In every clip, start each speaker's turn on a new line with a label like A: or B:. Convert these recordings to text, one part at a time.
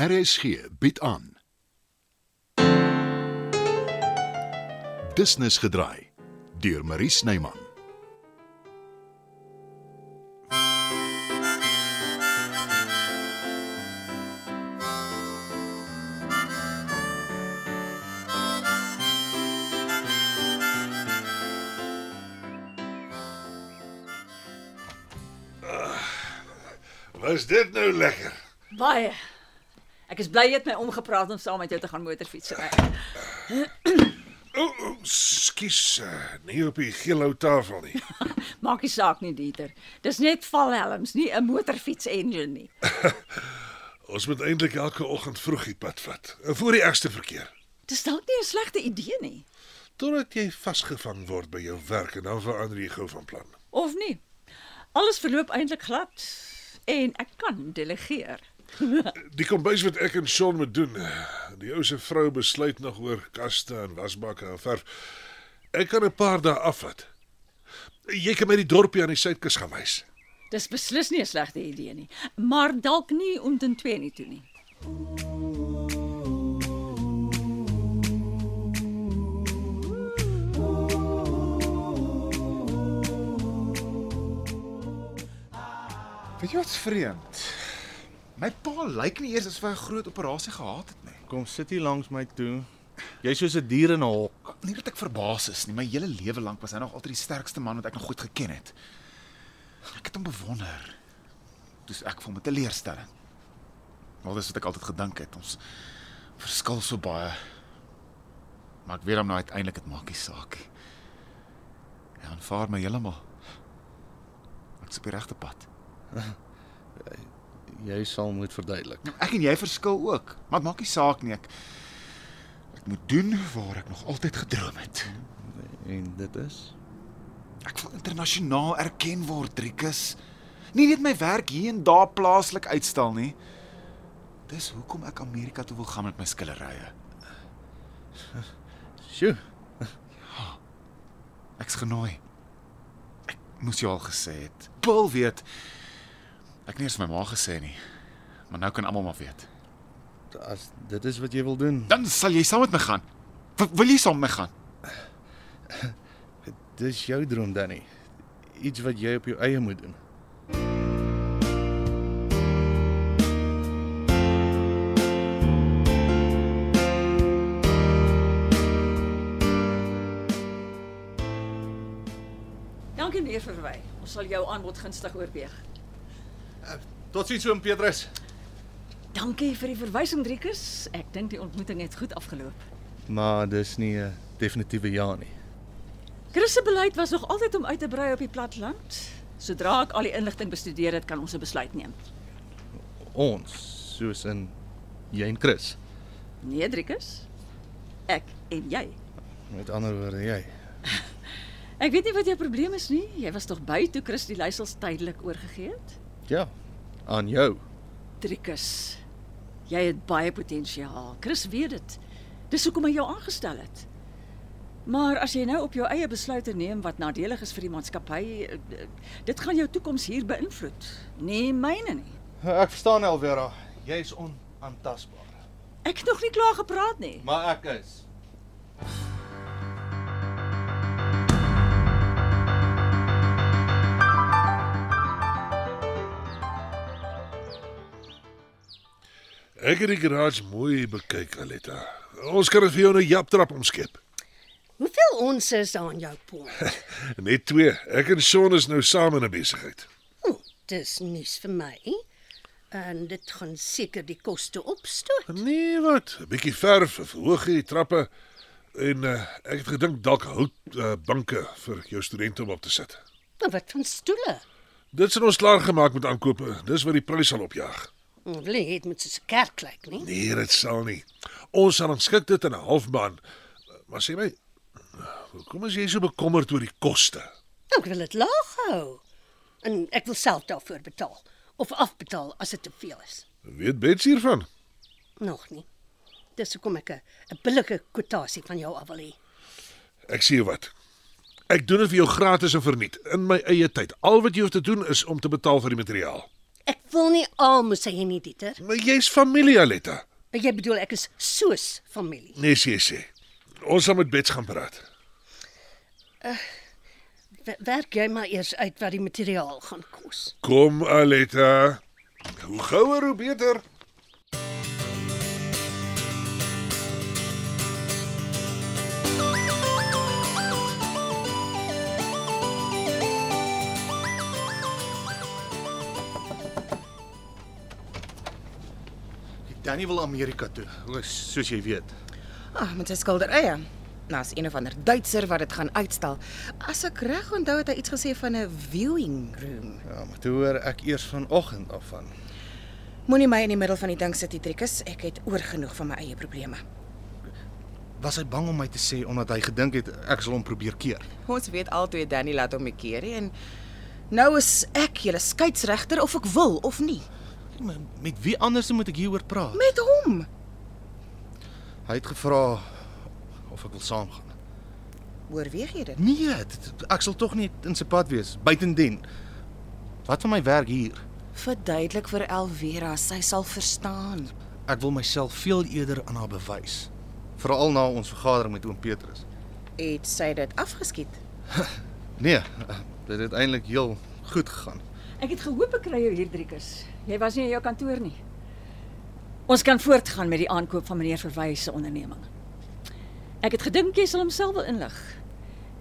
A: RSG bied aan. Business gedraai deur Marie Snyman.
B: Was dit nou lekker?
C: Baie. Ek is bly jy het my omgepraat om saam met jou te gaan motorfiets ry.
B: O, o, skus, eh, nie op die geelhou tafel nie.
C: Maak nie saak nie, Dieter. Dis net valhelms, nie 'n motorfiets engine nie.
B: Ons moet eintlik elke oggend vroeg die pad vat, eh, voor die ergste verkeer.
C: Dis dalk nie 'n slegte idee nie,
B: Totdat jy vasgevang word by jou werk en dan verander jy gou van plan.
C: of nie? Alles verloop eintlik glad en ek kan delegeer.
B: Die kombuis wat ek en Sean moet doen, eh, die ou se vrou besluit nog oor kaste en wasbakke en verf. Ek kan 'n paar dae afvat. Jy kan my die dorpie aan die suidkus gaan wys.
C: Dis beslis nie 'n slegte idee nie, maar dalk nie omtrent 2 nie toe nie.
D: Weet jy wat's vreemd? My pa lyk nie eers asof hy 'n groot operasie gehad het nie.
E: Kom sit hier langs my toe. Jy's soos 'n dier in 'n hok.
D: Nie dat ek verbaas is nie, my hele lewe lank was hy nog altyd die sterkste man wat ek nog goed geken het. Ek het hom bewonder. Dis ek van 'n teleurstelling. Maar dis wat ek altyd gedink het. Ons verskil so baie. Maar ek weet hom nou uiteindelik dit maak nie saak. nie. Hy aanvaar my heeltemal. Ek's op die regte pad.
E: Jy sal moet verduidelik.
D: Nou, Ek en jy verskil ook, maar dit maak nie saak nie. Ek ek moet doen waar ek nog altyd gedroom het.
E: En dit is
D: Ek wil internasionaal erken word, Driekus. Nie net my werk hier en daar plaaslik uitstel nie. Dis hoekom ek Amerika toe wil gaan met my skillerye.
E: Sjoe.
D: Ek's genooi. Ek moes jou al gesê het. Wil weet. Ek het nie eens vir my ma gesê nie. Maar nou kan almal maar weet.
E: As dit is wat jy wil doen.
D: Dan sal jy saam met my gaan. W wil jy saam met my gaan?
E: Dis jou droom Danny. Iets wat jy op jou eie moet doen.
C: Dankie meneer Verwy. Ons sal jou aanbod gunstig oorweeg.
E: Uh, Totsiens oom Petrus.
C: Dankie vir die verwysing, Driekus. Ek dink die ontmoeting het goed afgeloop.
E: Maar dis nie 'n definitiewe ja nie.
C: Chris se beleid was nog altyd om uit te brei op die platteland. Sodra ek al die inligting bestudeer het, kan ons 'n besluit neem.
E: Ons, soos in jy en Chris.
C: Nee, Driekus. Ek en jy.
E: Met ander woorde jy.
C: Ek weet nie wat jou probleem is nie. Jy was tog by toe Chris die leiersels tydelik oorgegee het?
E: Ja. Aan jou.
C: Driekus. Jy het baie potensiaal. Chris weet dit. Dis hoekom hy jou aangestel het. Maar as jy nou op jou eie besluite neem wat nadelig is vir die maatskappy, eh, dit gaan jou toekoms hier beïnvloed. Nee, myne nie.
E: Ek verstaan Elvera. Jy's onaantastbaar.
C: Ek het nog nie klaar gepraat nie.
E: Maar ek is.
B: Ek het die garage mooi bekyk, Aletta. Ons kan dit vir jou nou japtrap omskep.
F: Hoeveel ons is daar aan jou pond?
B: Net twee. Ek en Sean is nou saam in 'n besigheid.
F: Hm, dis nuus vir my. En dit gaan seker die koste opstoot.
B: Nee, wat? 'n Bietjie verf, 'n verhoogie, die trappe en uh, ek het gedink dalk hout uh, banke vir jou studente om op te sit.
F: Maar wat van stoele?
B: Dit sien ons klaar gemaak met aankope. Dis wat die prys sal opjaag.
F: Hulle het met soos 'n kerk lyk, nie?
B: Nee, dit sal nie. Ons sal geskik dit in 'n halfbaan. Maar sê my, hoekom is jy so bekommerd oor die koste?
F: Nou, Ek wil dit laag hou. En ek wil self daarvoor betaal of afbetaal as dit te veel is.
B: Weet Bets hiervan?
F: Nog nie. Dis hoekom ek 'n 'n billike kwotasie van jou af wil hê.
B: Ek sê jou wat. Ek doen dit vir jou gratis en verniet in my eie tyd. Al wat jy hoef te doen is om te betaal vir die materiaal.
F: Ek wil nie almoes hê nie, Dieter.
B: Maar jy's familie Aletta.
F: Maar jy bedoel ek is soos familie.
B: Nee, sê sê. Ons sal met Bets gaan praat.
F: W werk jy maar eers uit wat die materiaal gaan kos.
B: Kom Aletta. Hoe gouer hoe beter.
G: Danny wil Amerika toe,
E: Soos jy weet.
H: Ah, met sy skilderye. Nou is een of ander Duitser wat dit gaan uitstal. As ek reg onthou het hy iets gesê van 'n viewing room.
E: Ja, maar toe hoor ek eers vanoggend af van.
H: Moenie my in die middel van die ding sit, Dietrikus. Ek het oorgenoeg van my eie probleme.
E: Was hy bang om my te sê omdat hy gedink het ek sal hom probeer keer?
H: Ons weet altyd Danny laat hom bekeer en nou is ek julle skeieregter of ek wil of nie.
E: Maar Met wie anders moet ek hieroor praat?
H: Met hom.
E: Hy het gevra of ek wil saamgaan.
H: Oorweeg jy dit?
E: Nee, dit- ek sal tog nie in sy pad wees buitendien. Wat van my werk hier?
H: Verduidelik vir Elvira, sy sal verstaan.
E: Ek wil myself veel eerder aan haar bewys. Veral na ons vergadering met oom Petrus.
H: Het sy dit afgeskiet?
E: Nee, dit het eintlik heel goed gegaan.
C: Ek het gehoop ek kry jou hier driekus. Jy was nie in jou kantoor nie. Ons kan voortgaan met die aankoop van meneer Verwys se onderneming. Ek het gedink jy sal homself wil inlig.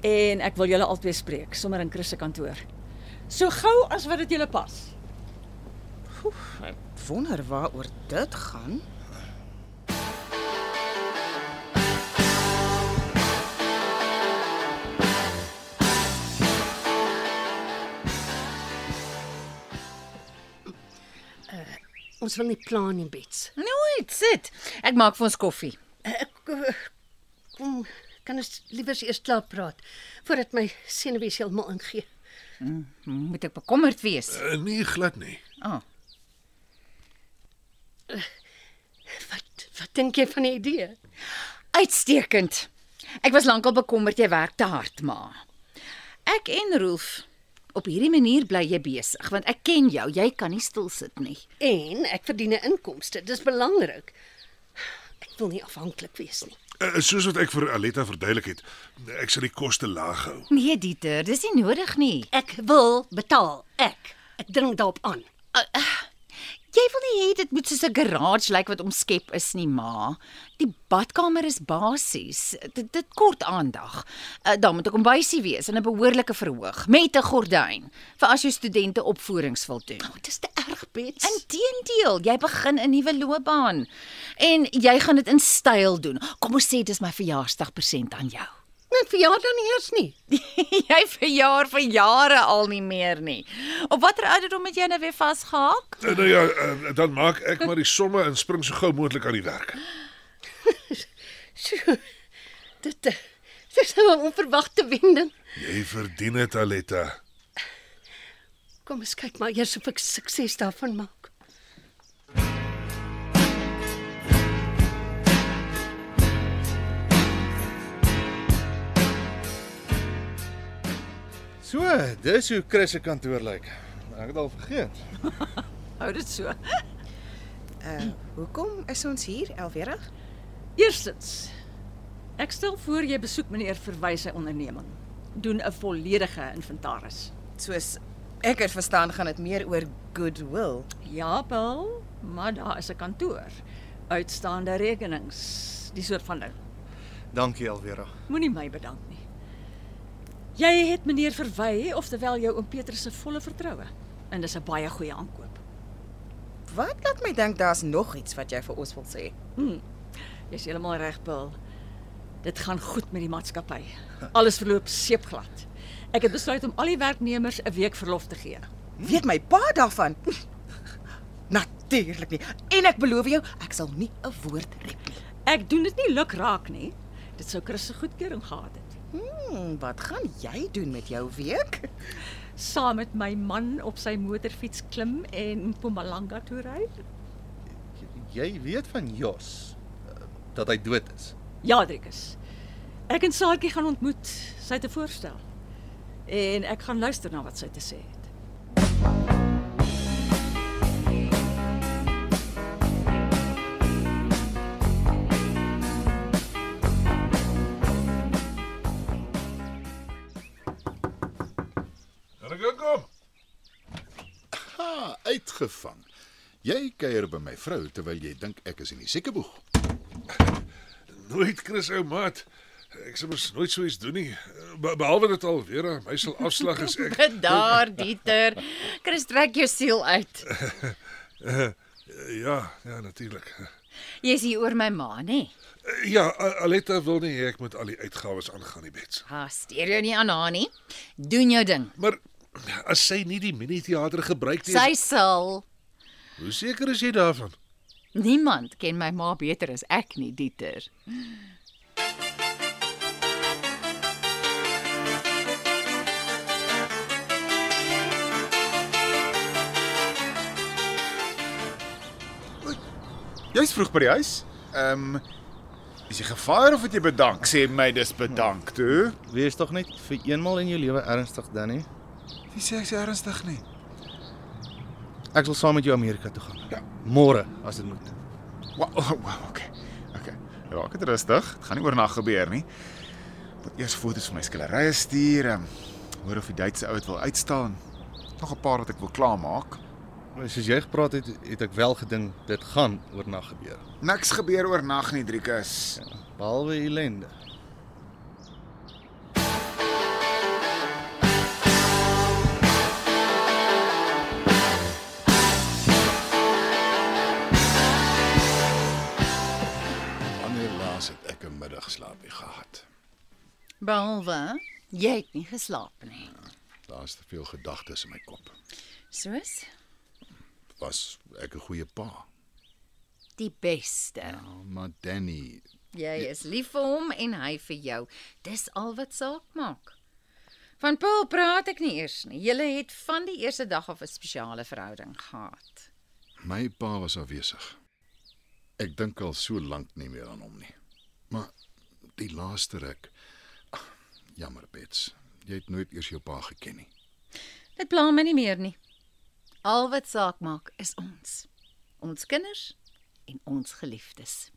C: En ek wil julle albei spreek sommer in Chris se kantoor. So gou as wat dit julle pas.
H: Wonder waaroor dit gaan.
F: Ons wil nie plan nie, Bets.
I: Nooit sit. Ek maak vir ons koffie.
F: Ek eh, kom kan ons liewer eers klaar praat voordat my senuwees heeltemal ingee.
I: Moet ek bekommerd wees?
B: Uh, nee, glad nie.
I: Ah,
F: Wat wat dink jy van die idee?
I: uitstekend. Ek was lankal bekommerd jy werk te hard, ma. Ek en Rolf, op hierdie manier bly jy besig want ek ken jou, jy kan nie stil sit nie.
F: En ek verdien 'n inkomste. Dis belangrik. Ek wil nie afhanklik wees nie.
B: Uh, soos wat ek vir Aletta verduidelik het, ek sal die koste laag hou.
I: Nee, Dieter, dis nie nodig nie.
F: Ek wil betaal. Ek. Ek dring daarop aan.
I: Jy wil nie hê dit moet soos 'n garage lyk like wat omskep is nie, ma. Die badkamer is basies. Dit dit kort aandag. Uh, daar moet 'n kombuisie wees en 'n behoorlike verhoog met 'n gordyn vir as jou studente opvoerings wil doen.
F: Nou, Dit is te erg, Bets.
I: Inteendeel, jy begin 'n nuwe loopbaan en jy gaan dit in styl doen. Kom ons sê dis my verjaarsdagpersent aan jou.
F: Net verjaardag nie eers nie.
I: jy verjaar vir jare al nie meer nie. Op watter ouderdom het jy nou weer vasgehaak?
B: Uh, nou ja, uh, dan maak ek maar die somme en spring so gou moontlik aan die werk.
F: Sjoe. Dit eh, dit is nou 'n onverwagte wending.
B: Jy verdien dit, Aletta.
F: Kom ons kyk maar eers of ek sukses daarvan maak.
E: So, dis hoe Chris se kantoor lyk. Ek het al vergeet.
C: Hou dit so.
H: Eh, Hoekom is ons hier, Elvira?
C: Eerstens. Ek stel voor jy besoek meneer Verwys se onderneming. Doen 'n volledige inventaris.
H: Soos ek het verstaan gaan dit meer oor goodwill.
C: Ja, Paul, maar daar is 'n kantoor. Uitstaande rekenings, die soort van ding.
E: Dankie Elvira.
C: Moenie my bedank nie. Jy het meneer Verwy, oftewel jou oom Petrus se volle vertroue en dis 'n baie goeie aankoop.
H: Wat laat my dink daar's nog iets wat jy vir ons wil sê?
C: Jy's heeltemal reg, Paul. Dit gaan goed met die maatskappy. Alles verloop seepglad. Ek het besluit om al die werknemers 'n week verlof te gee.
H: Weet my pa daarvan? Natuurlik nie. En ek beloof jou, ek sal nie 'n woord rep nie.
C: Ek doen dit nie luk raak nie. Dit sou Chris se goedkeuring gehad het.
H: Hmm, wat gaan jy doen met jou week?
C: Saam met my man op sy motorfiets klim en Mpumalanga toe ry.
E: Jy weet van Jos eh, dat hy dood is.
C: Ja, Driekus. Ek en Saartjie gaan ontmoet. Sy het 'n voorstel. En ek gaan luister na wat sy te sê het.
A: gevang. Jy kuier by my vrou terwyl jy dink ek is in die siekeboeg.
B: Nooit Chris ou maat. Ek sê mos nooit so iets doen nie. Be behalwe dat al weer aan my sal afslag is ek.
I: Bedaar Dieter. Chris trek jou siel uit.
B: Ja, ja natuurlik.
I: Jy's hier oor my ma, nê?
B: Ja, A- Aletta wil nie hê ek moet al die uitgawes aangaan nie, Bets.
I: Ha, steur jou nie aan haar nie. Doen jou ding.
B: Maar as sy nie die miniteater gebruik nie,
I: Sy sal.
B: is- hoe seker is jy daarvan?
I: Niemand ken my ma beter as ek nie, Dieter.
D: Jy's vroeg by die huis. Ehm um, is jy gevaar of het jy bedank? Sê my dis bedank toe.
E: Wees tog net vir eenmal in jou lewe ernstig, Danny.
D: Wie sê ek's ernstig nie?
E: Ek sal saam met jou Amerika toe gaan. Ja, môre as dit moet.
D: Wow, wow, okay. Okay. Raak dit rustig. Dit gaan nie oornag gebeur nie. Moet eers foto's van my skillerye stuur. ehm, Hoor of die Duitse ou dit wil uitstaan. Nog 'n paar wat ek wil klaarmaak.
E: Maar soos jy gepraat het, het ek wel gedink dit gaan oornag gebeur.
D: Niks gebeur oornag nie, Driekus.
E: Behalwe ellende.
A: Wanneer laas het ek 'n middagslaapie gehad?
I: Behalwe jy het nie geslaap nie.
A: Daar's te veel gedagtes in my kop.
I: Soos
A: Was ek 'n goeie pa? Nou,
I: die beste.
A: Maar Danny,
I: Ja. Jy is lief vir hom en hy vir jou. Dis al wat saak maak. Van Paul praat ek nie eers nie. Julle het van die eerste dag af 'n spesiale verhouding gehad.
A: my pa was afwesig. Ek dink al so lank nie meer aan hom nie. Maar die laaste ruk Ag, jammer Bets. Jy het nooit eers jou pa geken nie.
I: Dit pla my nie meer nie. Al wat saak maak is ons. Ons kinders en ons geliefdes.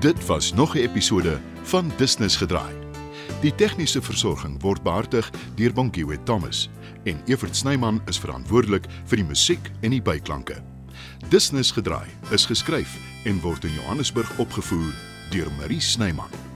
A: Dit was nog 'n episode van Business gedraai. Die tegniese versorging word behartig deur Bongiwet Thomas en Evert Snyman is verantwoordelik vir die musiek en die byklanke. Business gedraai is geskryf en word in Johannesburg opgevoer deur Marie Snyman.